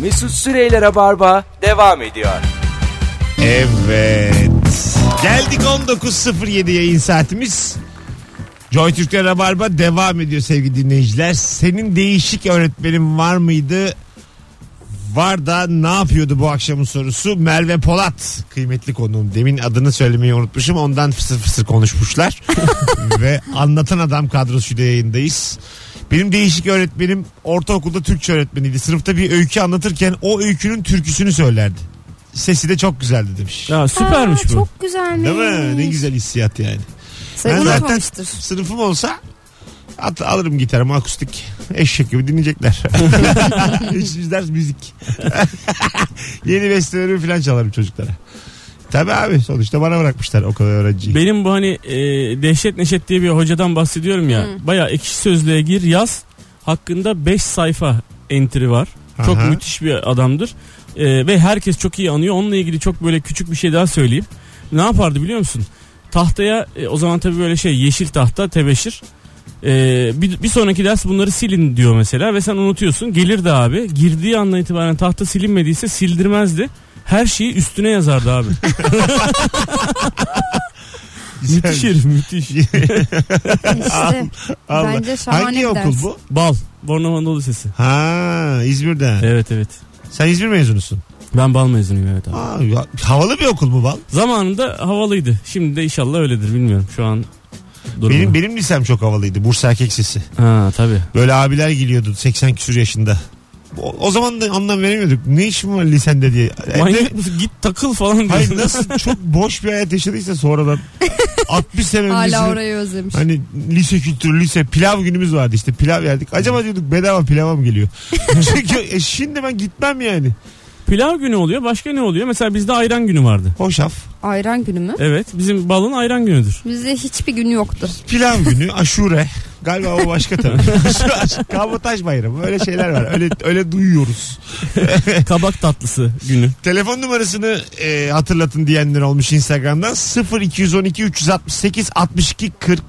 Mesut Süreyler'e barba devam ediyor. Evet. Geldik 19.07 yayın saatimiz. Joy Türk'te Rabarba devam ediyor sevgili dinleyiciler. Senin değişik öğretmenin var mıydı? Var da ne yapıyordu bu akşamın sorusu? Merve Polat kıymetli konuğum. Demin adını söylemeyi unutmuşum. Ondan fısır fısır konuşmuşlar. Ve anlatan adam kadrosuyla yayındayız. Benim değişik öğretmenim ortaokulda Türkçe öğretmeniydi. Sınıfta bir öykü anlatırken o öykünün türküsünü söylerdi. Sesi de çok güzeldi demiş. Ya süpermiş Aa, bu. Çok güzelmiş. Değil mi? Ne güzel hissiyat yani. Sen Ben zaten- unutmamıştır. Sınıfım olsa at, alırım gitarımı akustik. Eşek gibi dinleyecekler. Üçüncü ders müzik. Yeni besteleri falan çalarım çocuklara. Tabii abi sonuçta bana bırakmışlar o kadar öğrenciyi. Benim bu hani e, Dehşet Neşet diye bir hocadan bahsediyorum ya. Baya ekşi sözlüğe gir yaz. Hakkında 5 sayfa entry var. Çok Aha. müthiş bir adamdır. E, ve herkes çok iyi anıyor. Onunla ilgili çok böyle küçük bir şey daha söyleyeyim. Ne yapardı biliyor musun? Tahtaya e, o zaman tabii böyle şey yeşil tahta tebeşir. E, bir, bir sonraki ders bunları silin diyor mesela ve sen unutuyorsun. Gelirdi abi. Girdiği andan itibaren tahta silinmediyse sildirmezdi. Her şeyi üstüne yazardı abi. müthiş herif müthiş. İşte. Allah. Bence şahane Hangi bir okul ders. bu? Bal. Bornova Anadolu Lisesi. Ha İzmir'de. Evet evet. Sen İzmir mezunusun. Ben bal mezunuyum evet abi. Aa, ya- havalı bir okul bu bal. Zamanında havalıydı. Şimdi de inşallah öyledir bilmiyorum şu an. Durumu. Benim benim lisem çok havalıydı. Bursa Erkek Lisesi. Ha tabii. Böyle abiler geliyordu 80 küsur yaşında. O, o zaman da anlam veremiyorduk. Ne işim var lisende diye. E, E, Ne- Manyak mısın? Git takıl falan Hayır diyorsun. nasıl çok boş bir hayat yaşadıysa sonradan 60 sene Hala öncesini orayı özlemiş. hani lise kültürü lise pilav günümüz vardı işte pilav yerdik. Acaba diyorduk bedava pilava mı geliyor? Çünkü e, şimdi ben gitmem yani. Pilav günü oluyor. Başka ne oluyor? Mesela bizde ayran günü vardı. Hoşaf. Ayran günü mü? Evet. Bizim balın ayran günüdür. Bizde hiçbir gün yoktur. Pilav günü aşure. Galiba o başka tabii. Kabotaj bayramı öyle şeyler var. Öyle öyle duyuyoruz. Kabak tatlısı günü. Telefon numarasını e, hatırlatın diyenler olmuş Instagram'dan 0212 368 62 40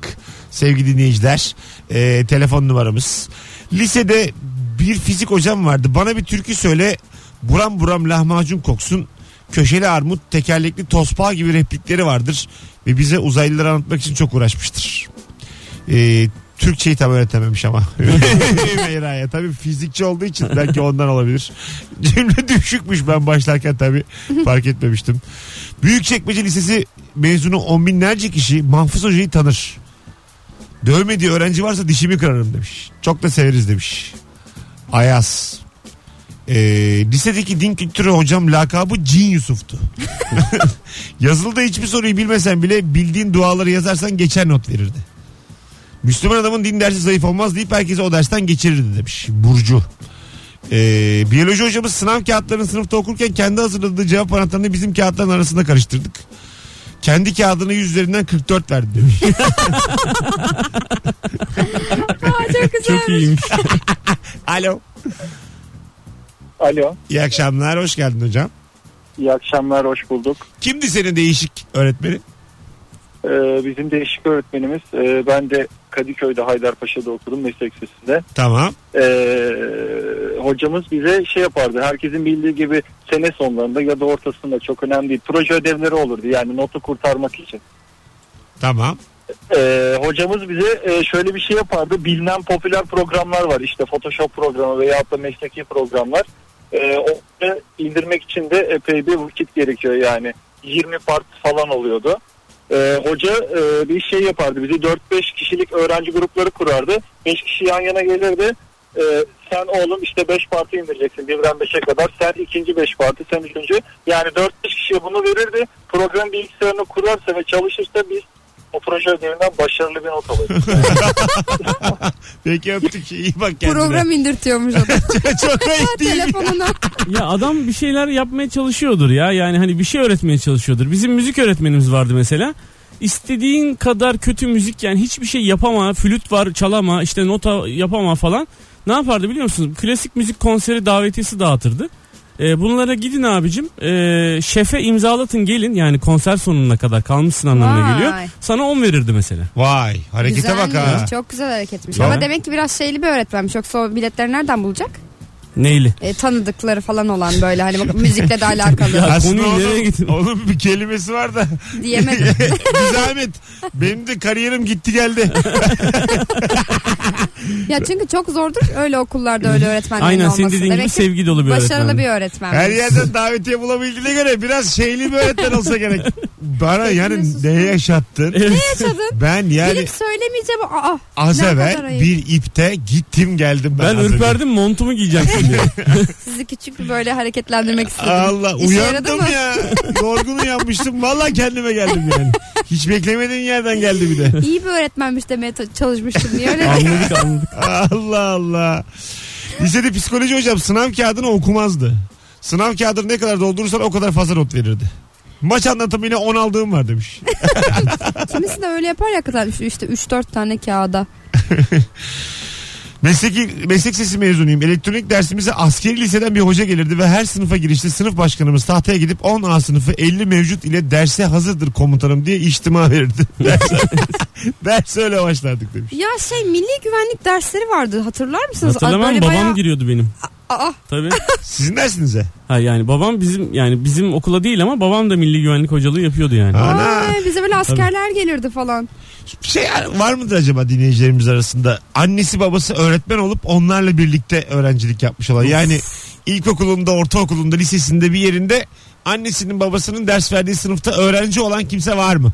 sevgili dinleyiciler E, telefon numaramız. Lisede bir fizik hocam vardı bana bir türkü söyle buram buram lahmacun koksun köşeli armut tekerlekli tospağa gibi replikleri vardır ve bize uzaylıları anlatmak için çok uğraşmıştır. E, Türkçeyi tam öğretememiş ama. Meyra'ya tabii fizikçi olduğu için belki ondan olabilir. Cümle düşükmüş ben başlarken tabii fark etmemiştim. Büyükçekmece Lisesi mezunu on binlerce kişi Mahfuz Hoca'yı tanır. Dövmediği öğrenci varsa dişimi kırarım demiş. Çok da severiz demiş. Ayaz. Ee, lisedeki din kültürü hocam lakabı Cin Yusuf'tu. Yazılda hiçbir soruyu bilmesen bile bildiğin duaları yazarsan geçer not verirdi. Müslüman adamın din dersi zayıf olmaz deyip herkesi o dersten geçirirdi demiş Burcu. Ee, biyoloji hocamız sınav kağıtlarını sınıfta okurken kendi hazırladığı cevap anahtarını bizim kağıtların arasında karıştırdık. Kendi kağıdını yüz üzerinden 44 verdi demiş. Çok güzel. Çok iyiymiş. Alo. Alo. İyi akşamlar hoş geldin hocam. iyi akşamlar, hoş bulduk. Kimdi senin değişik öğretmeni? Ee, bizim değişik öğretmenimiz. e, ben de Kadıköy'de Haydarpaşa'da okudum meslek lisesinde. Tamam. Ee, hocamız bize şey yapardı. Herkesin bildiği gibi sene sonlarında ya da ortasında çok önemli değil. Proje ödevleri olurdu yani notu kurtarmak için. Tamam. Ee, hocamız bize e, şöyle bir şey yapardı. Bilinen popüler programlar var. İşte Photoshop programı veyahut da mesleki programlar. Ee, onları indirmek için de epey bir vakit gerekiyor yani. 20 part falan oluyordu. Ee, hoca e, bir şey yapardı. Bizi 4-5 kişilik öğrenci grupları kurardı. 5 kişi yan yana gelirdi. Ee, sen oğlum işte 5 parti indireceksin birden 5'e kadar. Sen ikinci 5 parti, sen üçüncü. Yani 4-5 kişiye bunu verirdi. Program bilgisayarını kurarsa ve çalışırsa biz o proje ödevinden başarılı bir not alıyoruz. Peki öptük. İyi bak kendine. Program indirtiyormuş adam. Çok ayıp değil mi? Telefonuna. ya adam bir şeyler yapmaya çalışıyordur ya. Yani hani bir şey öğretmeye çalışıyordur. Bizim müzik öğretmenimiz vardı mesela. İstediğin kadar kötü müzik yani hiçbir şey yapama, flüt var çalama, işte nota yapama falan. Ne yapardı biliyor musunuz? Klasik müzik konseri davetiyesi dağıtırdı. Ee, bunlara gidin abicim. Ee, şefe imzalatın gelin. Yani konser sonuna kadar kalmışsın anlamına Vay. geliyor. Sana 10 verirdi mesela. Vay harekete bak ha. Çok güzel hareketmiş. Tamam. Ama demek ki biraz şeyli bir öğretmenmiş. Yoksa o biletleri nereden bulacak? Neyli? E, tanıdıkları falan olan böyle hani bak- müzikle de alakalı Ya- Aslında konuyu nereye onun, getirdin? onun bir kelimesi var da diyemedim. bir zahmet. Benim de kariyerim gitti geldi. ya çünkü çok zordur öyle okullarda öyle öğretmenlerin Aynen olması. senin dediğin gibi Demek ki sevgi dolu bir başarılı öğretmen. bir öğretmen. Her yerden davetiye bulabildiğine göre biraz şeyli bir öğretmen olsa gerek. Bana yani ne yaşattın? Evet. Yaşadın. Ben yani Gelip söylemeyeceğim. Aa, az ne evvel kadar ayıp. bir ipte gittim geldim ben. Ben az önce. ürperdim montumu giyeceğim şimdi. sizi küçük bir böyle hareketlendirmek istedim. Allah İşe yaradı uyandım mı? ya. Yorgun uyanmıştım. Valla kendime geldim yani. Hiç beklemediğim yerden geldi bir de. İyi bir öğretmenmiş demeye ta- çalışmıştım. Niye öyle? anladık anladık. Allah Allah. Lisede psikoloji hocam sınav kağıdını okumazdı. Sınav kağıdını ne kadar doldurursan o kadar fazla not verirdi. Maç anlatımıyla 10 aldığım var demiş. Kimisi de öyle yapar ya kadar işte- işte 3-4 tane kağıda. Mesleki, meslek sesi mezunuyum. Elektronik dersimize askeri liseden bir hoca gelirdi ve her sınıfa girişte sınıf başkanımız tahtaya gidip 10A sınıfı 50 mevcut ile derse hazırdır komutanım diye içtima verirdi. Ders, ders öyle başlardık demiş. Ya şey milli güvenlik dersleri vardı hatırlar mısınız? Hatırlamam Böyle babam bayağı- giriyordu benim. Aa, Tabii. Sizin dersinize. Ha yani babam bizim yani bizim okula değil ama babam da milli güvenlik hocalığı yapıyordu yani. Ha. Ana. Ay, bize böyle askerler gelirdi falan. Bir şey var mıdır acaba dinleyicilerimiz arasında? Annesi babası öğretmen olup onlarla birlikte öğrencilik yapmış olan. Yani ilkokulunda, ortaokulunda, lisesinde bir yerinde annesinin babasının ders verdiği sınıfta öğrenci olan kimse var mı?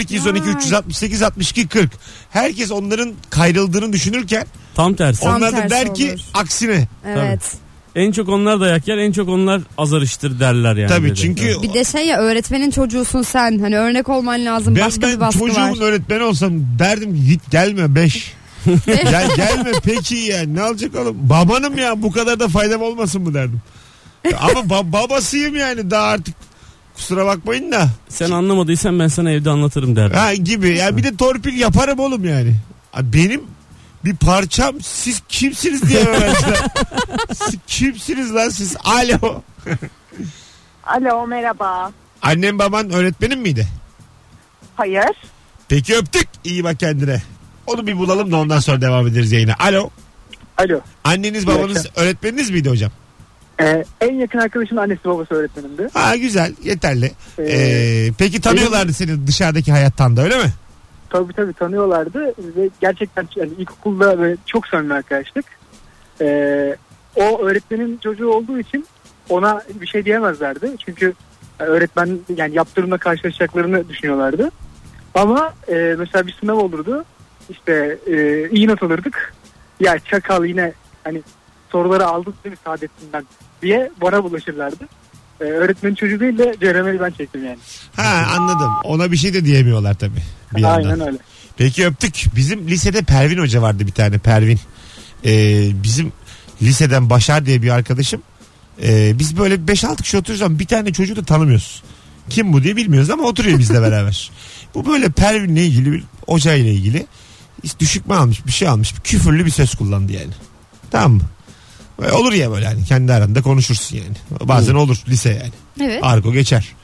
0212 Vay. 368 62 40. Herkes onların kayrıldığını düşünürken Tam tersi. Tam onlar da tersi der ki olur. aksine. Evet. En çok onlar dayak yer, en çok onlar azarıştır derler yani. Tabii Dedi. çünkü Bir de şey ya öğretmenin çocuğusun sen. Hani örnek olman lazım. ben, Başka bir ben baskı çocuğumun var. öğretmeni olsam derdim ki git gelme 5. Gel, gelme peki yani ne alacak oğlum? Babanım ya bu kadar da faydam olmasın mı derdim. Ama ba- babasıyım yani daha artık kusura bakmayın da. Sen anlamadıysan ben sana evde anlatırım derler. Ha gibi ya bir de torpil yaparım oğlum yani. Ha, Benim bir parçam siz kimsiniz diye öğrenciler. siz kimsiniz lan siz? Alo. Alo merhaba. Annem baban öğretmenim miydi? Hayır. Peki öptük. İyi bak kendine. Onu bir bulalım da ondan sonra devam ederiz yayına. Alo. Alo. Anneniz babanız öğretmeniniz miydi hocam? Ee, en yakın arkadaşımın annesi babası öğretmenimdi. Ha güzel yeterli. Ee, Ee, peki tanıyorlardı seni dışarıdaki hayattan da öyle mi? Tabii tabii tanıyorlardı ve gerçekten yani ilkokulda böyle çok samimi arkadaştık. Ee, o öğretmenin çocuğu olduğu için ona bir şey diyemezlerdi. Çünkü e, öğretmen yani yaptırımla karşılaşacaklarını düşünüyorlardı. Ama e, mesela bir sınav olurdu. İşte e, iyi not alırdık. Ya çakal yine hani soruları aldın değil mi Saadettin'den diye bana bulaşırlardı. Ee, öğretmenin çocuğu değil de Ceremel'i ben çektim yani. Ha anladım. Ona bir şey de diyemiyorlar tabii. Bir yandan. Aynen öyle. Peki öptük. Bizim lisede Pervin Hoca vardı bir tane Pervin. Ee, bizim liseden Başar diye bir arkadaşım. Ee, biz böyle 5-6 kişi oturuyoruz ama bir tane çocuğu da tanımıyoruz. Kim bu diye bilmiyoruz ama oturuyor bizle beraber. Bu böyle Pervin'le ilgili bir hoca ile ilgili işte düşükme almış bir şey almış bir küfürlü bir söz kullandı yani. Tamam mı? Böyle olur ya böyle hani kendi aranda konuşursun yani. Bazen olur lise yani. Evet. Argo geçer.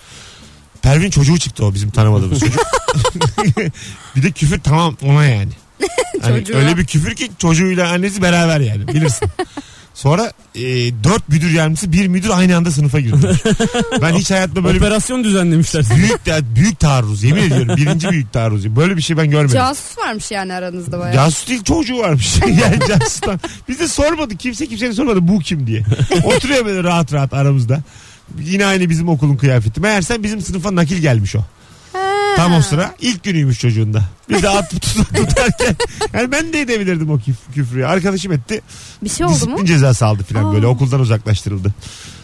Pervin çocuğu çıktı o bizim tanımadığımız çocuk. bir de küfür tamam ona yani. Hani Çocuğa. öyle bir küfür ki çocuğuyla annesi beraber yani bilirsin. Sonra e, dört müdür yardımcısı bir müdür aynı anda sınıfa girdi. ben hiç hayatımda böyle bir Operasyon düzenlemişler. büyük, ta- büyük taarruz yemin ediyorum birinci büyük taarruz. Böyle bir şey ben görmedim. Casus varmış yani aranızda bayağı. Casus değil çocuğu varmış. yani casustan. Biz de sormadık. Kimse kimsenin sormadı bu kim diye. Oturuyor böyle rahat rahat aramızda. Yine aynı bizim okulun kıyafeti. Meğerse bizim sınıfa nakil gelmiş o. Tam o sıra ilk günüymüş çocuğunda. Biz de at tut- tutarken. Yani ben de edebilirdim o küf- küfrü. Arkadaşım etti. bir şey oldu mu? Disiplin cezası aldı filan Aa. böyle okuldan uzaklaştırıldı.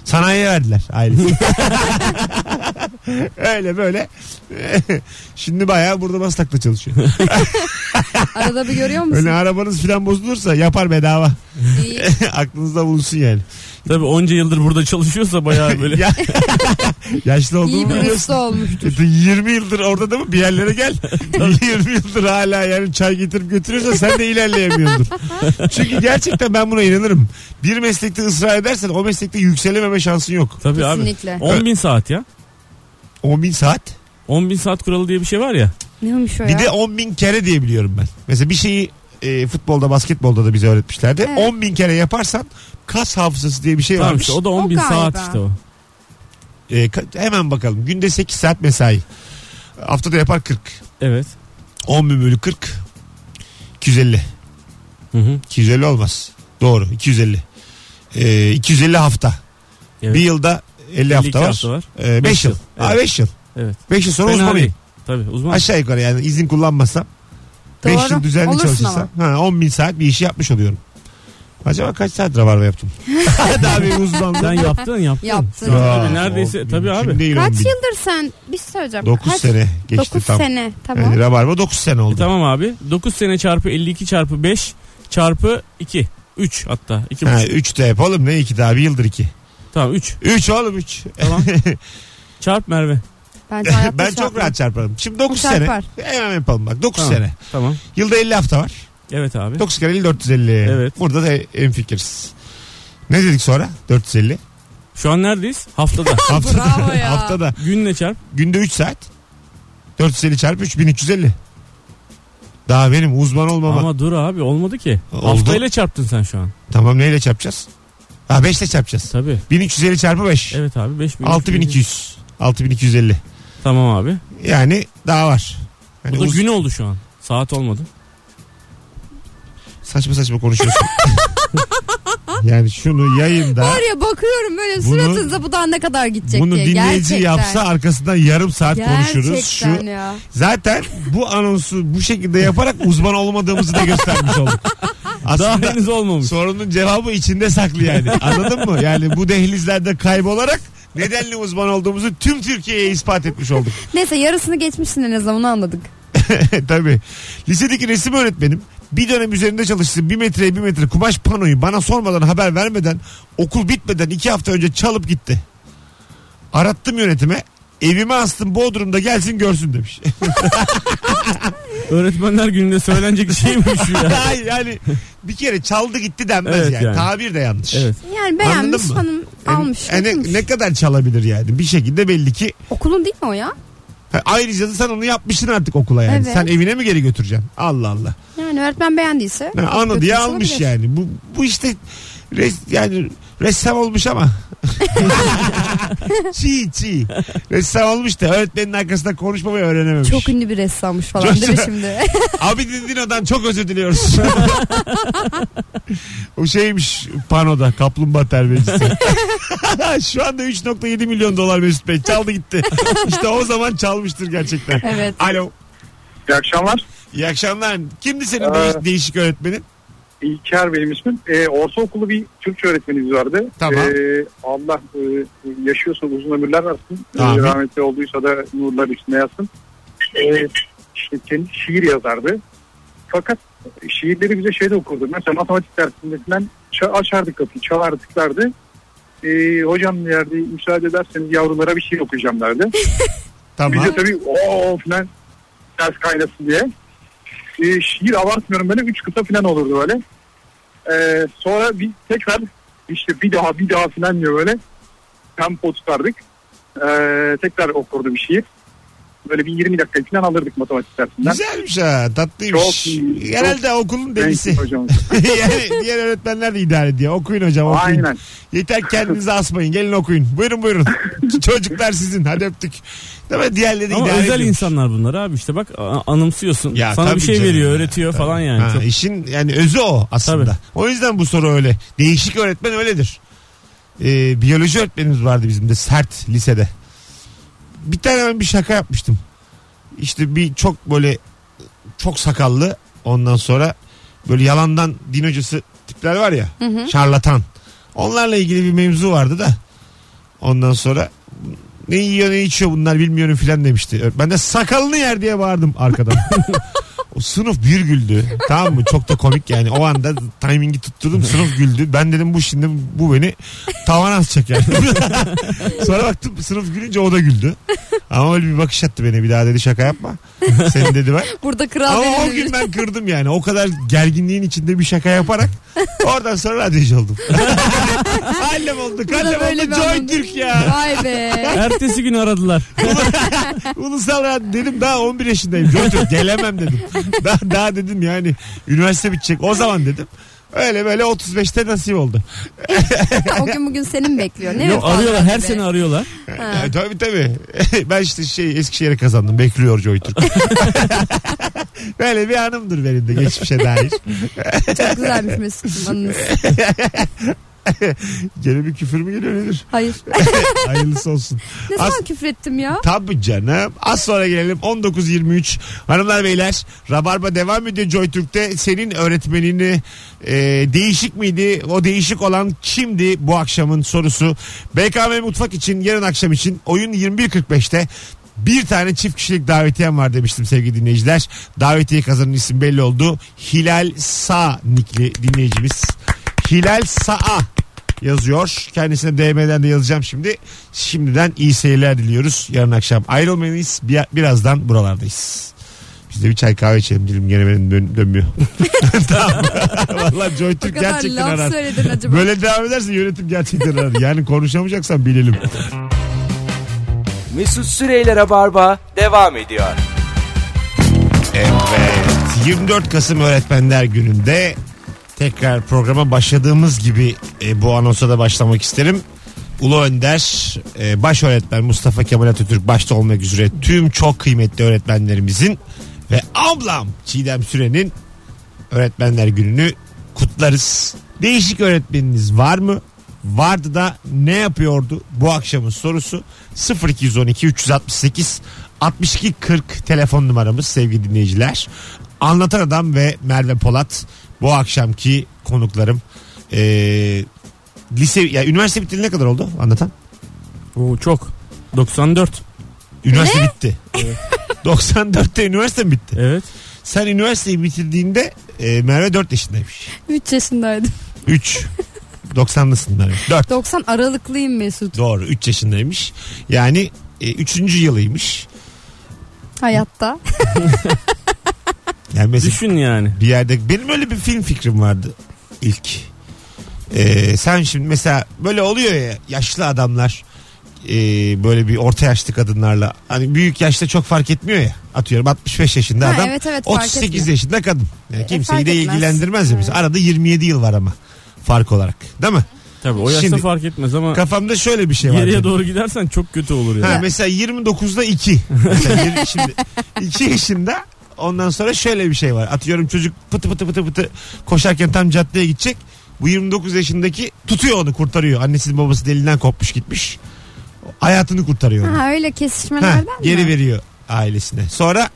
Sanayiye verdiler ailesi. Öyle böyle. Şimdi bayağı burada maslakta çalışıyor. Arada bir görüyor musun? Öyle arabanız filan bozulursa yapar bedava. İyi. Aklınızda bulunsun yani. Tabii onca yıldır burada çalışıyorsa bayağı böyle. Ya- Yaşlı İyi olduğumu bir biliyorsun. usta olmuş. E, 20 yıldır orada da mı bir yerlere gel. 20 yıldır hala yani çay getirip götürüyorsa sen de ilerleyemiyordur. Çünkü gerçekten ben buna inanırım. Bir meslekte ısrar edersen o meslekte yükselememe şansın yok. Tabii Kesinlikle. abi. 10 bin saat ya. 10 bin saat. 10 bin saat kuralı diye bir şey var ya. Ne olmuş o ya? Bir de 10 bin kere diye biliyorum ben. Mesela bir şeyi e, futbolda basketbolda da bize öğretmişlerdi. Evet. 10 bin kere yaparsan kas hafızası diye bir şey Tamam varmış. işte o da O 10 bin saat galiba. işte o. E, ka- hemen bakalım günde 8 saat mesai. Haftada yapar 40. Evet. 10 bin bölü 40. 250. Hı hı. 250 olmaz. Doğru 250. E, 250 hafta. Evet. Bir yılda 50 hafta 52 var. hafta var. 5 Beş yıl. yıl. 5 yıl. Evet. 5 yıl sonra Fena uzmanıyım. değil. Tabii uzman. Aşağı yukarı yani izin kullanmasam 5 Doğru. yıl düzenli Olursun çalışırsam ha, 10 bin saat bir işi yapmış oluyorum. Acaba kaç saat rabarba yaptım? Daha bir uzmanlık. Sen yaptın yaptın. Yaptın. Ya, Aa, tabii, neredeyse o tabii mümkün abi. Değil Kaç yıldır sen bir şey söyleyeceğim. 9 Kaç- sene geçti Dokuz tam. sene tamam. Yani rabarba 9 sene oldu. E, tamam abi. 9 sene çarpı 52 çarpı 5 çarpı 2. 3 hatta. 2 Ha, 3 de yap oğlum ne 2 daha bir yıldır 2. Tamam 3. 3 oğlum 3. Tamam. Çarp Merve. Bence hayatta şey ben çok çarpar. rahat çarparım. Şimdi 9 Bu sene. çarpar. Hemen yapalım bak 9 Tamam. sene. Tamam. Yılda 50 hafta var. Evet abi. 9 kere 50 450. Evet. Burada da en fikiriz. Ne dedik sonra? 450. Şu an neredeyiz? Haftada. Haftada, Bravo ya. haftada Günle çarp. günde 3 saat. 450 çarpı 3350. Daha benim uzman olmama. Ama dur abi olmadı ki. Oldu. Haftayla çarptın sen şu an. Tamam neyle çarpacağız? Ha 5 ile çarpacağız. Tabii. 1350 çarpı 5. Evet abi 5 6200. 6250. Tamam abi. Yani daha var. Hani Bu da uz- gün oldu şu an. Saat olmadı. Saçma saçma konuşuyorsun. yani şunu yayında Var ya bakıyorum böyle Bunu- suratınıza bu daha ne kadar gidecek bunu diye. dinleyici Gerçekten. yapsa arkasından yarım saat konuşuruz. Şu Gerçekten ya. Zaten bu anonsu bu şekilde yaparak uzman olmadığımızı da göstermiş olduk. Daha Aslında henüz olmamış. sorunun cevabı içinde saklı yani. Anladın mı? Yani bu dehlizlerde kaybolarak nedenli uzman olduğumuzu tüm Türkiye'ye ispat etmiş olduk. Neyse yarısını geçmişsin en azından onu anladık. Tabii. Lisedeki resim öğretmenim bir dönem üzerinde çalıştı. Bir metreye bir metre kumaş panoyu bana sormadan haber vermeden okul bitmeden iki hafta önce çalıp gitti. Arattım yönetime. Evime astım Bodrum'da gelsin görsün demiş. Öğretmenler gününde söylenecek bir şey mi şu ya? Hayır yani bir kere çaldı gitti denmez Evet yani. yani. Tabir de yanlış. Evet. Yani beğenmiş mı? hanım Yani- almış. yani götürmüş. ne, ne kadar çalabilir yani? Bir şekilde belli ki. Okulun değil mi o ya? Ha, Ayrıca da sen onu yapmışsın artık okula yani. Evet. Sen evine mi geri götüreceksin? Allah Allah. Yani öğretmen beğendiyse. Ha, anı diye götürsün almış olabilir. yani. Bu, bu işte res, yani ressam olmuş ama. çiğ çiğ. Ressam olmuş da öğretmenin arkasında konuşmamayı öğrenememiş. Çok ünlü bir ressammış falan Coşkun- değil mi şimdi? Abi Dindino'dan çok özür diliyoruz. o şeymiş panoda kaplumbağa terbiyecisi. Şu anda 3.7 milyon dolar Mesut Bey çaldı gitti. İşte o zaman çalmıştır gerçekten. evet. Alo. İyi akşamlar. İyi akşamlar. Kimdi senin değiş- Ee, değişik öğretmenin? İlker benim ismim. Ee, ortaokulu bir Türkçe öğretmenimiz vardı. Tamam. Ee, Allah e, yaşıyorsa uzun ömürler versin. Ee, Amin. rahmetli olduysa da nurlar üstüne yatsın. Ee, işte kendi şiir yazardı. Fakat şiirleri bize şeyde okurdu. Mesela matematik dersinde falan ça- açardık kapıyı, çalardıklardı. Ee, hocam derdi müsaade ederseniz yavrulara bir şiir okuyacağım derdi. Tamam. Biz de tabii ooo falan ders kaynasın diye. Ee, şiir abartmıyorum böyle üç kıta falan olurdu böyle. Ee, sonra biz tekrar işte bir daha bir daha falan diyor böyle tempo tutardık. Ee, tekrar okurdu bir şiir. Böyle bir 20 dakika falan alırdık matematik dersinden. Güzelmiş ha tatlıymış. Çok iyi, çok- Genelde okulun delisi. Neyse hocam. yani diğer öğretmenler de idare ediyor. Okuyun hocam okuyun. Aynen. Yeter kendinizi asmayın gelin okuyun. Buyurun buyurun. Çocuklar sizin hadi öptük. Değil mi? Diğerleri Ama idare özel ediyor. insanlar bunlar abi işte bak a- anımsıyorsun. Ya Sana tabii bir şey canım veriyor, ya. öğretiyor Tabii. falan yani. Ha, Çok- İşin yani özü o aslında. Tabii. O yüzden bu soru öyle. Değişik öğretmen öyledir. Ee, biyoloji öğretmenimiz vardı bizim de sert lisede. Bir tane ben bir şaka yapmıştım. İşte bir çok böyle çok sakallı ondan sonra böyle yalandan din hocası tipler var ya Hı hı. şarlatan. Onlarla ilgili bir mevzu vardı da ondan sonra ne yiyor ne içiyor bunlar bilmiyorum filan demişti. Ben de sakalını yer diye bağırdım arkadan. o sınıf bir güldü. Tamam mı? Çok da komik yani. O anda timingi tutturdum sınıf güldü. Ben dedim bu şimdi bu beni tavana asacak yani. Sonra baktım sınıf gülünce o da güldü. Ama öyle bir bakış attı beni. Bir daha dedi şaka yapma. Senin dedi ben. Burada kral Ama benim o gün ben kırdım yani. O kadar gerginliğin içinde bir şaka yaparak oradan sonra radyocu oldum. Hallem oldu. Hallem böyle oldu. bir Joy anlamda- Türk ya. Vay be. Ertesi gün aradılar. Ulusal radyo dedim daha 11 yaşındayım. Joy Türk gelemem dedim. Daha, daha dedim yani üniversite bitecek. O zaman dedim. Öyle böyle 35'te nasip oldu. o gün bugün senin bekliyor. Ne Yok vefa arıyorlar her be. sene arıyorlar. Ha. Ya, tabii tabii. ben işte şey Eskişehir'e kazandım. Bekliyor Joy Türk. böyle bir anımdır benim de geçmişe dair. Çok güzelmiş Mesut'um anınız. Gene bir küfür mü geliyor nedir? Hayır. Hayırlısı olsun. Ne Az- zaman küfrettim ya? Tabii canım. Az sonra gelelim 19.23. Hanımlar beyler Rabarba devam ediyor JoyTürk'te. Senin öğretmenini e, değişik miydi? O değişik olan şimdi bu akşamın sorusu. BKM Mutfak için yarın akşam için oyun 21.45'te bir tane çift kişilik davetiyem var demiştim sevgili dinleyiciler. Davetiye kazanan isim belli oldu. Hilal Sa nikli dinleyicimiz. Hilal Sa'a yazıyor. Kendisine DM'den de yazacağım şimdi. Şimdiden iyi seyirler diliyoruz. Yarın akşam ayrılmayınız. Bir, birazdan buralardayız. Biz de bir çay kahve içelim dilim gene benim dön- dönmüyor. tamam. Valla Joy O Türk kadar gerçekten laf arar. söyledin acaba. Böyle devam ederse yönetim gerçekten arar. Yani konuşamayacaksan bilelim. Mesut Süreyler'e barba devam ediyor. Evet. 24 Kasım Öğretmenler Günü'nde tekrar programa başladığımız gibi e, bu anonsa da başlamak isterim. Ulu Önder, e, baş öğretmen Mustafa Kemal Atatürk başta olmak üzere tüm çok kıymetli öğretmenlerimizin ve ablam Çiğdem Süren'in Öğretmenler Günü'nü kutlarız. Değişik öğretmeniniz var mı? Vardı da ne yapıyordu? Bu akşamın sorusu 0212 368 62 40 telefon numaramız sevgili dinleyiciler. Anlatan Adam ve Merve Polat bu akşamki konuklarım. Ee, lise ya üniversite bitti ne kadar oldu anlatan? Oo çok. 94. Üniversite bitti. 94'te üniversite mi bitti? Evet. Sen üniversiteyi bitirdiğinde e, Merve 4 yaşındaymış. 3 yaşındaydım. 3. 90'lısın Merve. 4. 90 aralıklıyım Mesut. Doğru 3 yaşındaymış. Yani 3. yılıymış. Hayatta. Yani mesela Düşün yani. bir yerde benim öyle bir film fikrim vardı ilk. E, sen şimdi mesela böyle oluyor ya yaşlı adamlar e, böyle bir orta yaşlı kadınlarla hani büyük yaşta çok fark etmiyor ya atıyorum 65 yaşında Ha, adam evet evet fark 38 etmiyor. E, yaşında kadın. Yani kimseyi fark de etmez. ilgilendirmez ya mesela. Arada 27 yıl var ama fark olarak. Değil mi? Tabii o yaşta Şimdi- fark etmez ama Kafamda şöyle bir şey var. geriye benim. doğru gidersen çok kötü olur yani. Ha, mesela 29'da 2. Mesela yirmi- şimdi 2 yaşında ondan sonra şöyle bir şey var. Atıyorum çocuk pıtı pıtı pıtı pıtı koşarken tam caddeye gidecek. Bu 29 yaşındaki tutuyor onu kurtarıyor. Annesinin babası delinden kopmuş gitmiş. Hayatını kurtarıyor. onu. Ha öyle Ha, kesişmelerden geri mi? veriyor ailesine. Sonra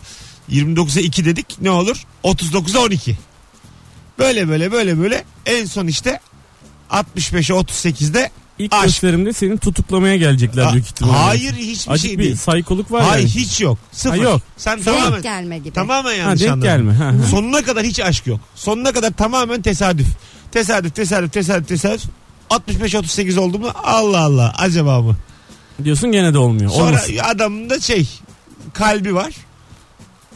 29'a 2 dedik ne olur? 39'a 12. Böyle böyle böyle böyle en son işte 65'e 38'de İlk Aşk. gösterimde senin tutuklamaya gelecekler büyük ihtimalle. hayır hiçbir Acık şey bir değil. saykoluk var Hayır yani. hiç yok. Sıfır. Ha, yok. Sen Denk tamamen gelme gibi. tamamen Ha, yanlış denk anladın. gelme. Ha, ha. Sonuna kadar hiç aşk yok. Sonuna kadar tamamen tesadüf. Tesadüf, tesadüf, tesadüf, tesadüf. 65-38 oldu mu Allah Allah acaba mı? Diyorsun gene de olmuyor. Sonra Olmasın. adamın da şey kalbi var.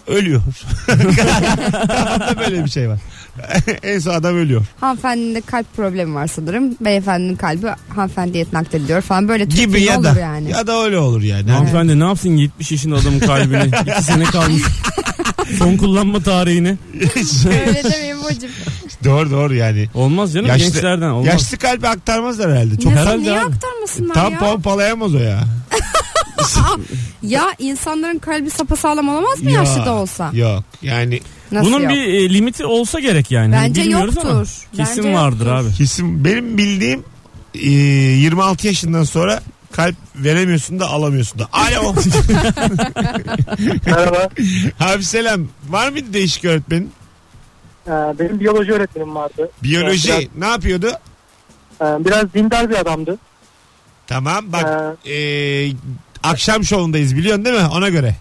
Ölüyor. Kafamda böyle bir şey var. en son adam ölüyor. Hanımefendinin de kalp problemi var sanırım. Beyefendinin kalbi hanımefendiye naklediliyor falan. Böyle Gibi ya da olur yani. ya da öyle olur yani. Hani Hanımefendi ne yapsın 70 yaşında adamın kalbini. 2 sene kalmış. Son kullanma tarihini. şey, Öyle demeyin bacım. doğru doğru yani. Olmaz canım Yaşlı- gençlerden olmaz. Yaşlı kalbi aktarmazlar herhalde. Çok Nasıl, herhalde niye abi. aktarmasınlar tam ya? pompalayamaz o ya. Ya insanların kalbi sapasağlam olamaz mı yaşlı da olsa? Yok yani Nasıl Bunun yok? bir e, limiti olsa gerek yani. Hani Bence bilmiyoruz ama yoktur. Kesin Bence vardır yoktur. abi. kesin benim bildiğim e, 26 yaşından sonra kalp veremiyorsun da alamıyorsun da. Alo. Merhaba. Abi selam. Var mıydı değişik öğretmenin? Ee, benim biyoloji öğretmenim vardı. Biyoloji Evet, ne yapıyordu? Ee, biraz dindar bir adamdı. Tamam bak e, akşam şovundayız biliyorsun değil mi? Ona göre.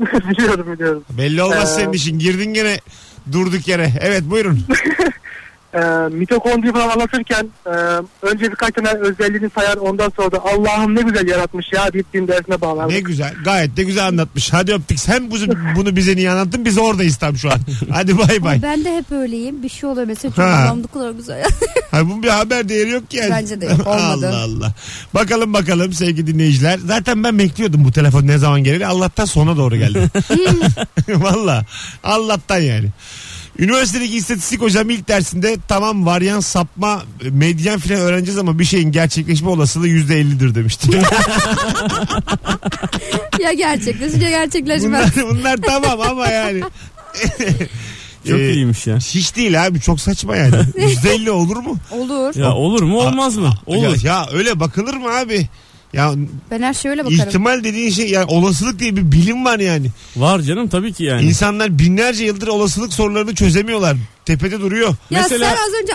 biliyorum biliyorum. Belli olmaz Ee, senin işin. Girdin gene durduk yere. Evet buyurun. e, mitokondri falan anlatırken e, önce birkaç tane özelliğini sayar ondan sonra da Allah'ım ne güzel yaratmış ya deyip din dersine bağlar. Ne güzel. Gayet de güzel anlatmış. Hadi öptük. Sen bunu, bunu bize niye anlattın? Biz oradayız tam şu an. Hadi bay bay. Ama ben de hep öyleyim. Bir şey oluyor mesela Ha. çok adam bu kadar güzel. Hayır, bunun bir haber değeri yok ki yani. Bence de yok, olmadı. Allah Allah. Bakalım bakalım sevgili dinleyiciler. Zaten ben bekliyordum bu telefon ne zaman gelir. Allah'tan sona doğru geldi. Valla. Allah'tan yani. Üniversitedeki istatistik hocam ilk dersinde tamam varyan sapma medyan filan öğreneceğiz ama bir şeyin gerçekleşme olasılığı yüzde ellidir demişti. ya gerçekleşir ya gerçekleşmez. bunlar, bunlar tamam ama yani. Çok Ee, iyiymiş ya. Hiç değil abi çok saçma yani. Yüzde elli olur mu? Olur. Ya olur mu olmaz mı? Olur. Ya, ya öyle bakılır mı abi? Ya Ben her şeye öyle bakarım. İhtimal dediğin şey yani olasılık diye bir bilim var yani. Var canım tabii ki yani. İnsanlar binlerce yıldır olasılık sorularını çözemiyorlar. Tepede duruyor. ya Mesela- sen az önce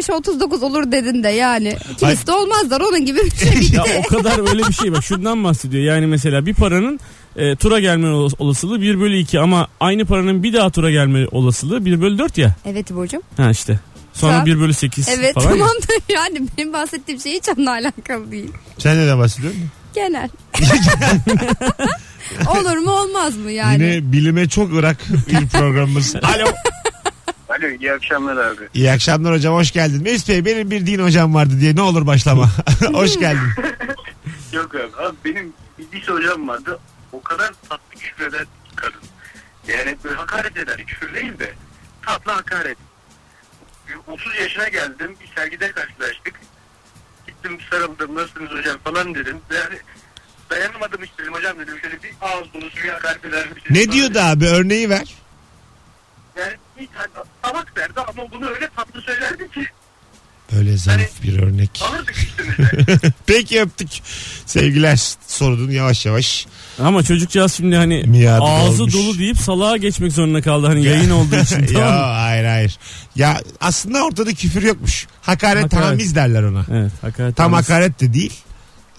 65-39 olur dedin de yani. Kiliste olmazlar onun gibi bir şey. Ya o kadar öyle bir şey bak şundan bahsediyor. Yani mesela bir paranın e, tura gelme olas- olasılığı 1 bölü 2 ama aynı paranın bir daha tura gelme olasılığı 1 bölü 4 ya. evet İbo'cum. Ha işte. Sonra Tamam. 1 bölü 8 Evet falan ya. tamam da yani benim bahsettiğim şey hiç onunla alakalı değil. Sen neden bahsediyorsun? Genel. olur mu olmaz mı yani? Yine bilime çok ırak bir programımız. Alo. Alo iyi akşamlar abi. İyi akşamlar hocam hoş geldin. Mesut Bey benim bir din hocam vardı diye ne olur başlama. hoş geldin. Yok abi, abi benim bir lise hocam vardı. O kadar tatlı küfreden kadın. Yani böyle hakaret eder. Küfür değil de tatlı hakaret. 30 yaşına geldim. Bir sergide karşılaştık. Gittim sarıldım. Nasılsınız hocam falan dedim. Yani dayanamadım hiç dedim hocam dedim. Şöyle bir ağız dolusu bir hakaret eder misiniz? Ne falan diyordu dedim. abi örneği ver. Yani bir tane tabak verdi ama bunu öyle tatlı söylerdi ki Böyle zarif bir örnek. alırdık üstümüze. Hani- Peki öptük. Sevgiler sorudun yavaş yavaş. Ama çocukcağız şimdi hani Miadı ağzı dolmuş. dolu deyip salağa geçmek zorunda kaldı hani yayın olduğu için. tamam mı? ya hayır hayır. Ya aslında ortada küfür yokmuş. Hakaret, Hakaret. tamiz derler ona. Evet hakaret. Tam olmaz. hakaret de değil.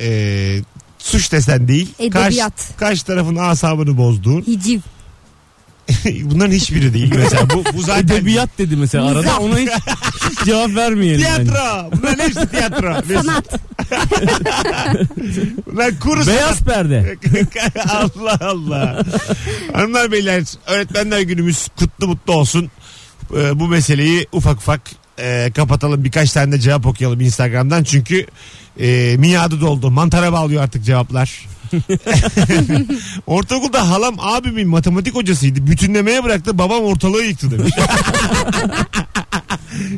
Ee, suç desen değil. Karşı, Edebiyat. karşı tarafın asabını bozduğun. Hiciv. Bunların hiçbiri değil mesela. Bu, bu zaten Edebiyat dedi mesela arada ona hiç, hiç cevap vermeyelim. bence. Tiyatro. Bunların hepsi tiyatro. Sanat. Bunlar kuru Beyaz perde. Allah Allah. Hanımlar beyler öğretmenler günümüz kutlu mutlu olsun. Ee, bu meseleyi ufak ufak e, kapatalım. Birkaç tane de cevap okuyalım Instagram'dan. Çünkü e, miadı doldu. Mantara bağlıyor artık cevaplar. Ortaokulda halam abimin matematik hocasıydı. Bütünlemeye bıraktı. Babam ortalığı yıktı demiş.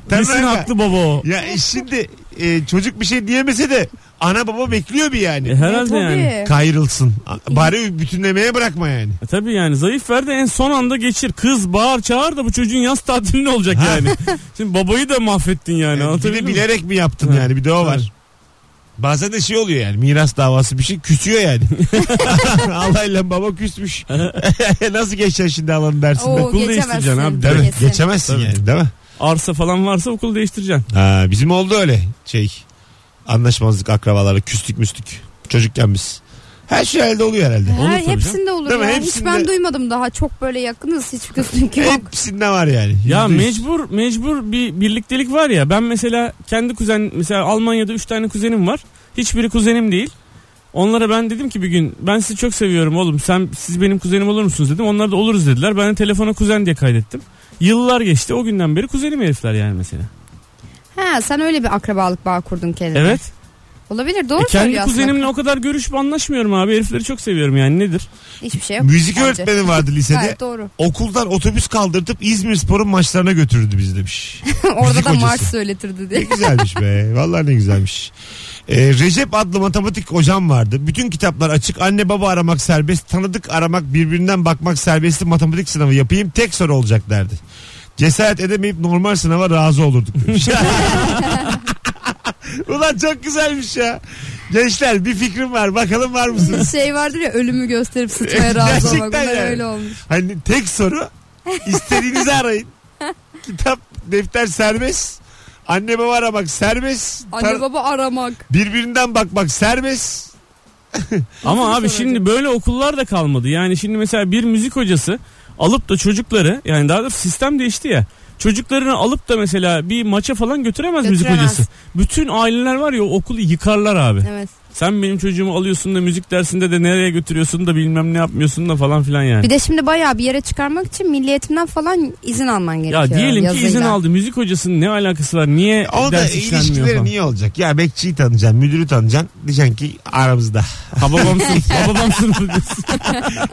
Tabii Kesin aga. haklı baba o. Ya şimdi e, çocuk bir şey diyemese de ana baba bekliyor bir yani. E, herhalde Tabii. yani. Kayrılsın. Bari bütünlemeye bırakma yani. E, tabii yani zayıf ver de en son anda geçir. Kız bağır çağır da bu çocuğun yaz tatili ne olacak yani. Şimdi babayı da mahvettin yani. Yani E, bir anlatabiliyor de muyum? bilerek mi yaptın Ha. yani bir de o Evet. var. Bazen de şey oluyor yani miras davası bir şey küsüyor yani. Allah ile baba küsmüş. Nasıl geçeceksin şimdi alanı dersin de. Oo Okul değiştireceksin geçemezsin. abi, Değil mi? Kesin. Geçemezsin Tabii. yani değil mi? Arsa falan varsa okul değiştireceksin. Ha, bizim oldu öyle şey anlaşmazlık akrabalarla küstük müstük çocukken biz. Her şey elde oluyor herhalde. Olur Her, tabii hepsinde olur Değil mi? ya. Hepsinde- Hiç ben duymadım daha. Çok böyle yakınız hiç gözlük yok. Hepsinde var yani. Ya Yüzde yüz. mecbur mecbur bir birliktelik var ya. Ben mesela kendi kuzen mesela Almanya'da 3 tane kuzenim var. Hiçbiri kuzenim değil. Onlara ben dedim ki bir gün ben sizi çok seviyorum oğlum. Sen siz benim kuzenim olur musunuz dedim. Onlar da oluruz dediler. Ben de telefona kuzen diye kaydettim. Yıllar geçti. O günden beri kuzenim herifler yani mesela. Ha sen öyle bir akrabalık bağı kurdun kendine. Evet. Olabilir doğru E kendi söylüyor aslında. kuzenimle o kadar görüşüp anlaşmıyorum abi. Herifleri çok seviyorum yani nedir? Hiçbir şey yok. Müzik bence. öğretmeni vardı lisede. Gayet doğru. Okuldan otobüs kaldırtıp İzmir Spor'un maçlarına götürdü bizi demiş. Orada da hocası. Mars söyletirdi Ne diye. güzelmiş be. Vallahi ne güzelmiş. Ee, Recep adlı matematik hocam vardı. Bütün kitaplar açık. Anne baba aramak serbest. Tanıdık aramak birbirinden bakmak serbestli matematik sınavı yapayım. Tek soru olacak derdi. Cesaret edemeyip normal sınava razı olurduk demiş. Ulan çok güzelmiş ya. Gençler bir fikrim var. Bakalım var mısınız? şey vardır ya ölümü gösterip sıçmaya razı olmak. Gerçekten Bunlar yani. öyle olmuş. Hani tek soru istediğinizi arayın. Kitap, defter serbest. Anne baba aramak serbest. Tan- Anne baba aramak. Birbirinden bakmak serbest. Ama Nasıl abi soracak? şimdi böyle okullar da kalmadı. Yani şimdi mesela bir müzik hocası alıp da çocukları yani daha doğrusu sistem değişti ya. Çocuklarını alıp da mesela bir maça falan götüremez, müzik Götüremez. hocası. Bütün aileler var ya o okulu yıkarlar abi. Evet. Sen benim çocuğumu alıyorsun da müzik dersinde de nereye götürüyorsun da bilmem ne yapmıyorsun da falan filan yani. Bir de şimdi bayağı bir yere çıkarmak için milliyetimden falan izin alman gerekiyor. Ya diyelim ki yazıyla. izin aldı. Müzik hocasının ne alakası var? Niye O da ders işlenmiyor ilişkileri falan? niye olacak? Ya bekçiyi tanıyacaksın, müdürü tanıyacaksın. Diyeceksin ki aramızda. Hababam sınıfı. Hababam sınıfı diyorsun.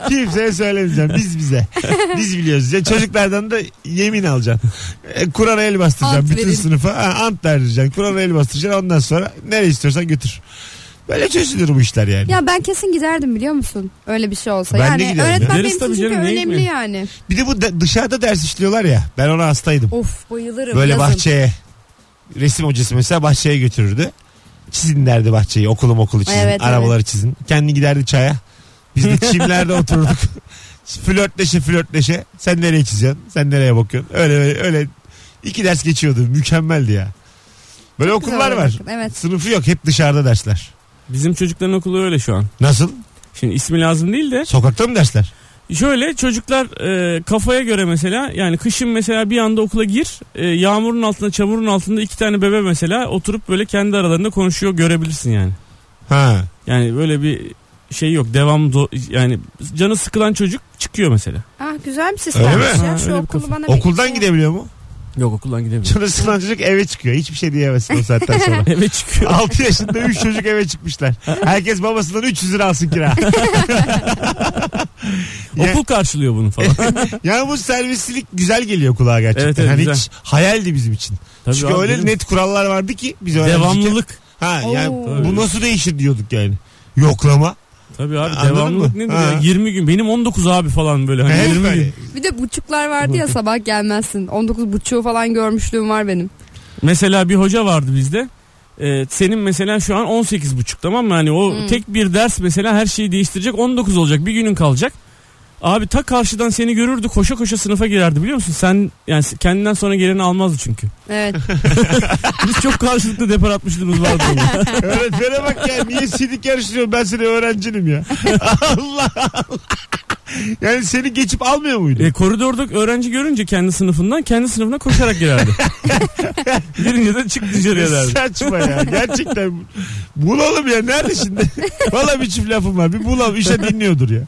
Kimseye söylemeyeceğim. Biz bize. Biz biliyoruz. Ya çocuklardan da yemin alacaksın. E, Kur'an'a el bastıracaksın Ant bütün verin. sınıfa. Ha, ant vereceksin. Kur'an'a el bastıracaksın. Ondan sonra nereye istiyorsan götür. Böyle çözülür bu işler yani. Ya ben kesin giderdim biliyor musun? Öyle bir şey olsa. Ben de yani giderim ya. öğretmen Gideriz benim için tabii çünkü canım, neyim önemli mi? yani. Bir de bu da- dışarıda ders işliyorlar ya. Ben ona hastaydım. Of bayılırım. Böyle yazın. bahçeye. Resim hocası mesela bahçeye götürürdü. Çizin derdi bahçeyi. Okulum okulu çizin. Evet, arabaları çizin. Kendi giderdi çaya. Biz de çimlerde oturduk. flörtleşe flörtleşe. Sen nereye çiziyorsun? Sen nereye bakıyorsun? Öyle öyle. öyle. İki ders geçiyordu. Mükemmeldi ya. Böyle Güzel okullar olur var. bakın, Evet. Sınıfı yok. Hep dışarıda dersler. Bizim çocukların okulu öyle şu an. Nasıl? Şimdi ismi lazım değil de. Sokakta mı dersler? Şöyle çocuklar e, kafaya göre mesela yani kışın mesela bir anda okula gir. e, yağmurun altında çamurun altında iki tane bebe mesela oturup böyle kendi aralarında konuşuyor görebilirsin yani. Ha. Yani böyle bir şey yok devam do- yani canı sıkılan çocuk çıkıyor mesela. Ah güzel bir Öyle sistemmiş mi? ya. Ha, Şu öyle bir okulu kafa. bana bir Okuldan şey- gidebiliyor mu? Yok okuldan gidemiyor. Sonra sıkılan çocuk eve çıkıyor. Hiçbir şey diyemezsin o saatten sonra. Eve çıkıyor. 6 yaşında 3 çocuk eve çıkmışlar. Herkes babasından 300 lira alsın kira. Ya- Okul karşılıyor bunu falan. yani bu servislilik güzel geliyor kulağa gerçekten. Evet, evet, hani güzel. hiç hayaldi bizim için. Tabii Çünkü abi, öyle benim- net şey. kurallar vardı ki biz öğrenciyken- devamlılık. Ha yani Oo. bu nasıl değişir diyorduk yani. Yoklama. Tabii abi Anladın devamlılık mı? nedir Ha. ya? 20 gün. Benim 19 abi falan böyle. Hani Hep 20 böyle. gün. Bir de buçuklar vardı ya sabah gelmezsin. 19 buçuğu falan görmüşlüğüm var benim. Mesela bir hoca vardı bizde. Ee, senin mesela şu an 18.5 tamam mı? Hani o Hmm. tek bir ders mesela her şeyi değiştirecek. 19 olacak. Bir günün kalacak. Abi ta karşıdan seni görürdü koşa koşa sınıfa girerdi biliyor musun? Sen yani kendinden sonra geleni almazdı çünkü. Evet. Biz çok karşılıklı depar atmışlığımız vardı. onunla. Öğretmene bak ya niye sidik yarıştırıyorsun ben seni öğrencinim ya. Allah Allah. Yani seni geçip almıyor muydu? e, koridorda öğrenci görünce kendi sınıfından kendi sınıfına koşarak girerdi. Girince de çık dışarıya derdi. Saçma ya gerçekten. Bulalım ya nerede şimdi? Valla bir çift lafım var. Bir bulalım işe dinliyordur ya.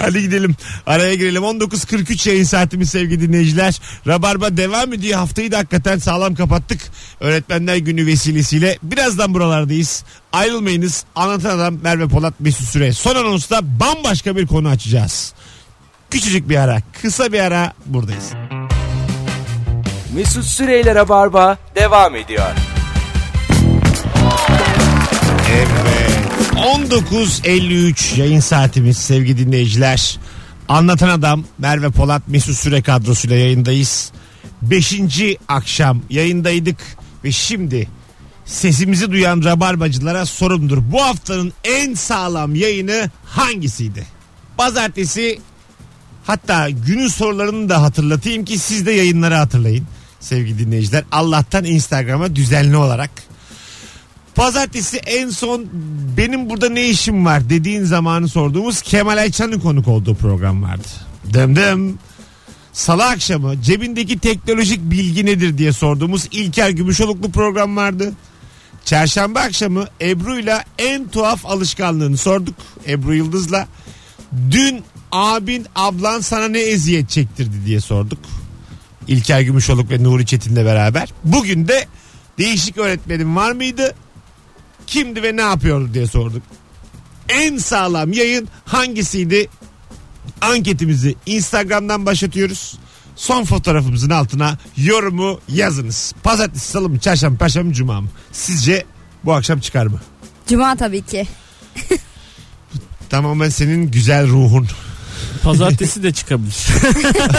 Hadi gidelim araya girelim. 19.43 yayın saatimiz sevgili dinleyiciler. Rabarba devam ediyor. Haftayı da hakikaten sağlam kapattık. Öğretmenler günü vesilesiyle. Birazdan buralardayız. Ayrılmayınız. Anlatan Adam Merve Polat Mesut Süre. Son anonsta bambaşka bir konu açacağız. Küçücük bir ara, kısa bir ara buradayız. Mesut Süreyler'e barba devam ediyor. Evet. 19.53 yayın saatimiz sevgili dinleyiciler. Anlatan Adam Merve Polat Mesut Süre kadrosuyla yayındayız. Beşinci akşam yayındaydık ve şimdi sesimizi duyan rabarbacılara sorumdur. Bu haftanın en sağlam yayını hangisiydi? Pazartesi hatta günün sorularını da hatırlatayım ki siz de yayınları hatırlayın sevgili dinleyiciler. Allah'tan Instagram'a düzenli olarak Pazartesi en son benim burada ne işim var dediğin zamanı sorduğumuz Kemal Ayça'nın konuk olduğu program vardı. Dım dım. Salı akşamı cebindeki teknolojik bilgi nedir diye sorduğumuz İlker Gümüşoluklu program vardı. Çarşamba akşamı Ebru'yla en tuhaf alışkanlığını sorduk. Ebru Yıldız'la. Dün abin ablan sana ne eziyet çektirdi diye sorduk. İlker Gümüşoluk ve Nuri Çetin'le beraber. Bugün de değişik öğretmenim var mıydı? Kimdi ve ne yapıyordu diye sorduk. En sağlam yayın hangisiydi? Anketimizi Instagram'dan başlatıyoruz. Son fotoğrafımızın altına yorumu yazınız. Pazartesi, salı mı, çarşamba, perşembe, mi, cuma mı? Sizce bu akşam çıkar mı? Cuma tabii ki. Tamamen senin güzel ruhun. Pazartesi de çıkabilir.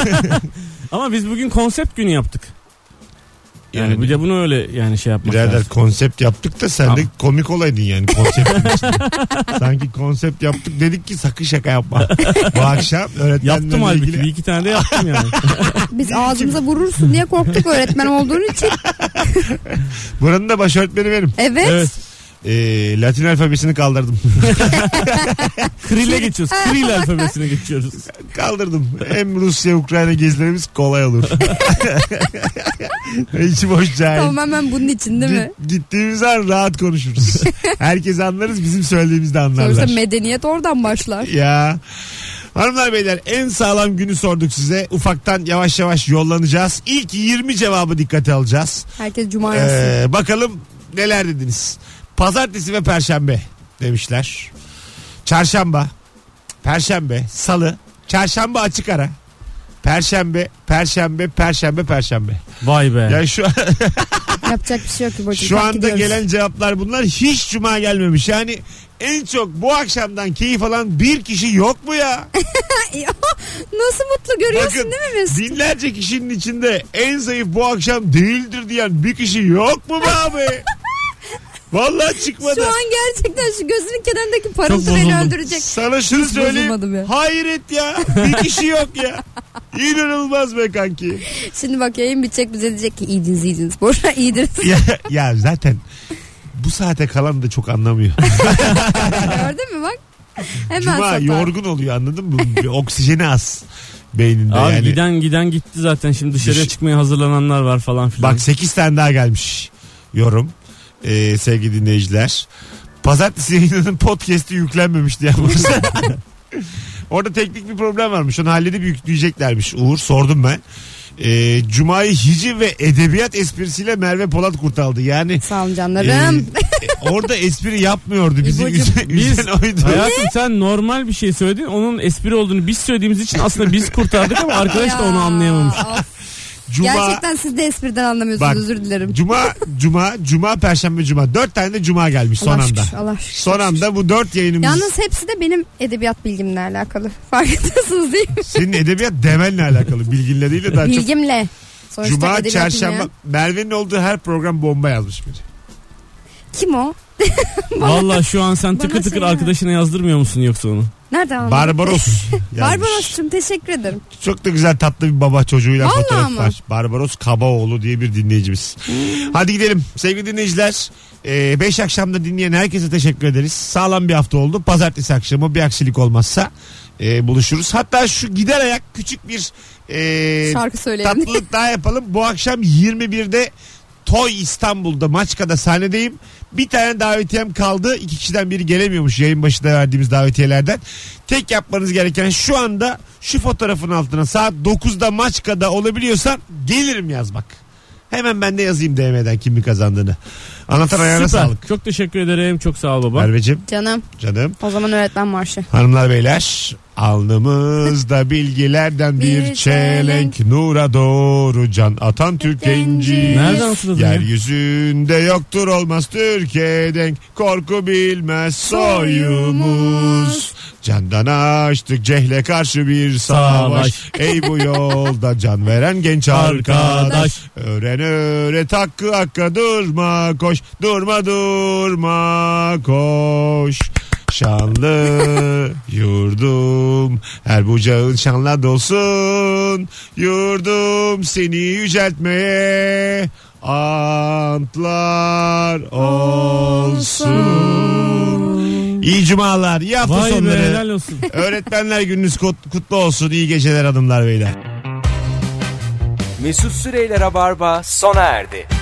Ama biz bugün konsept günü yaptık. Yani, Yani. bir de bunu öyle yani şey yapmak Birader lazım. konsept yaptık da sen de Tamam. komik olaydın yani konseptin içinde. Sanki konsept yaptık dedik ki sakın şaka yapma. Bu akşam Yaptım öğretmenlerle halbuki. ilgili Bir iki tane de yaptım yani. Biz ağzımıza vurursun diye korktuk öğretmen olduğun için. Buranın da başörtmeni benim. Evet. evet. Ee, Latin alfabesini kaldırdım. Krille geçiyoruz. Kril alfabesine geçiyoruz. kaldırdım. Hem Rusya Ukrayna gezilerimiz kolay olur. İçi boş cahil. Tamamen bunun için değil mi? Git- Gittiğimiz an rahat konuşuruz. Herkes anlarız bizim söylediğimizi de anlarlar. Sonuçta medeniyet oradan başlar. Ya. Hanımlar beyler en sağlam günü sorduk size. Ufaktan yavaş yavaş yollanacağız. İlk 20 cevabı dikkate alacağız. Herkes cuma yazsın. Ee, bakalım neler dediniz. Pazartesi ve perşembe demişler. Çarşamba, perşembe, salı, çarşamba açık ara. Perşembe, perşembe, perşembe, perşembe. Vay be. Ya şu Yapacak bir şey yok ki. bakın, şu kalk anda gidiyoruz. gelen cevaplar bunlar hiç cuma gelmemiş. Yani en çok bu akşamdan keyif alan bir kişi yok mu ya? oh, Nasıl mutlu görüyorsun Bakın, değil mi Mesut? Binlerce kişinin içinde en zayıf bu akşam değildir diyen bir kişi yok mu be abi? Vallahi çıkmadı. Şu an gerçekten şu gözünün kenarındaki Çok parıltı beni bozuldum. öldürecek. Sana şunu Hiç söyleyeyim. bozulmadım ya. Hayret ya. Bir kişi yok ya. İnanılmaz be kanki. Şimdi bak yayın bitecek bize diyecek ki iyiydiniz iyiydiniz. Boşuna iyiydiniz. Ya, ya zaten bu saate kalan da çok anlamıyor. Gördün mü bak. Hemen Cuma satar. yorgun oluyor anladın mı? Bir Oksijeni az beyninde Abi yani. giden giden gitti zaten şimdi dışarıya Düş- çıkmaya hazırlananlar var falan filan. Bak 8 tane daha gelmiş yorum. Ee, sevgili dinleyiciler. Pazartesi yayınının podcast'i yüklenmemiş diye varsa. Orada teknik bir problem varmış. Onu halledip yükleyeceklermiş. Uğur sordum ben. Ee, Cuma'yı hiciv ve edebiyat esprisiyle Merve Polat kurtaldı. Yani Sağ olun e, canlarım. e, orada espri yapmıyordu. Bizi İbocuğum, üzen, biz- üzen oydu. Hayatım sen normal bir şey söyledin. Onun espri olduğunu biz söylediğimiz için aslında biz kurtardık ama arkadaş da onu Ya, anlayamamış. of. Cuma, Gerçekten siz de espriden anlamıyorsunuz Bak, özür dilerim. Cuma, Cuma, Cuma, Perşembe, Cuma. Dört tane de Cuma gelmiş son Allah anda. şükür, Allah şükür. Son anda bu dört yayınımız. Yalnız hepsi de benim edebiyat bilgimle alakalı. Fark ediyorsunuz değil mi? Senin edebiyat demenle alakalı bilginle değil de daha çok. Bilgimle. Sonuçta Cuma, edebiyat çarşamba. bilmeyen- Merve'nin olduğu her program bomba yazmış biri. Kim o? Valla şu an sen tıkı Bana tıkır söyle. arkadaşına yazdırmıyor musun yoksa onu? Nereden anladın? Barbaros. yazmış. Barbaros'cum teşekkür ederim. Çok da güzel tatlı bir baba çocuğuyla Vallahi fotoğraf mi? var. Barbaros Kabaoğlu diye bir dinleyicimiz. Hadi gidelim sevgili dinleyiciler. 5 akşamda dinleyen herkese teşekkür ederiz. Sağlam bir hafta oldu. Pazartesi akşamı bir aksilik olmazsa e, buluşuruz. Hatta şu gider ayak küçük bir e, Şarkı söyleyelim. tatlılık daha yapalım. Bu akşam 21'de Toy İstanbul'da Maçka'da sahnedeyim. Bir tane davetiyem kaldı. İki kişiden biri gelemiyormuş yayın başında verdiğimiz davetiyelerden. Tek yapmanız gereken şu anda şu fotoğrafın altına saat 9'da Maçka'da olabiliyorsan gelirim yazmak. Hemen ben de yazayım DM'den kimin kazandığını. Anlatan ayağına Süper. sağlık. Çok teşekkür ederim. Çok sağ ol baba. Merveciğim Canım canım. o zaman öğretmen marşı. Hanımlar beyler alnımızda bilgilerden bir, Bir çelenk çelenk. nura doğru can atan Türk genci. Nereden hatırladın ya? Yeryüzünde yoktur olmaz Türkiye'den korku bilmez soyumuz. Candan açtık cehle karşı bir savaş. Savaş. Ey bu yolda can veren genç arkadaş. Arkadaş. Öğren öğret hakkı hakka durma koş. Durma durma koş. Şanlı yurdum her bucağın şanla dolsun yurdum seni yüceltmeye antlar olsun. İyi cumalar, iyi hafta Vay be sonları. helal olsun. Öğretmenler gününüz kut- kutlu olsun. İyi geceler hanımlar beyler. Mesut Süreyler'e barba sona erdi.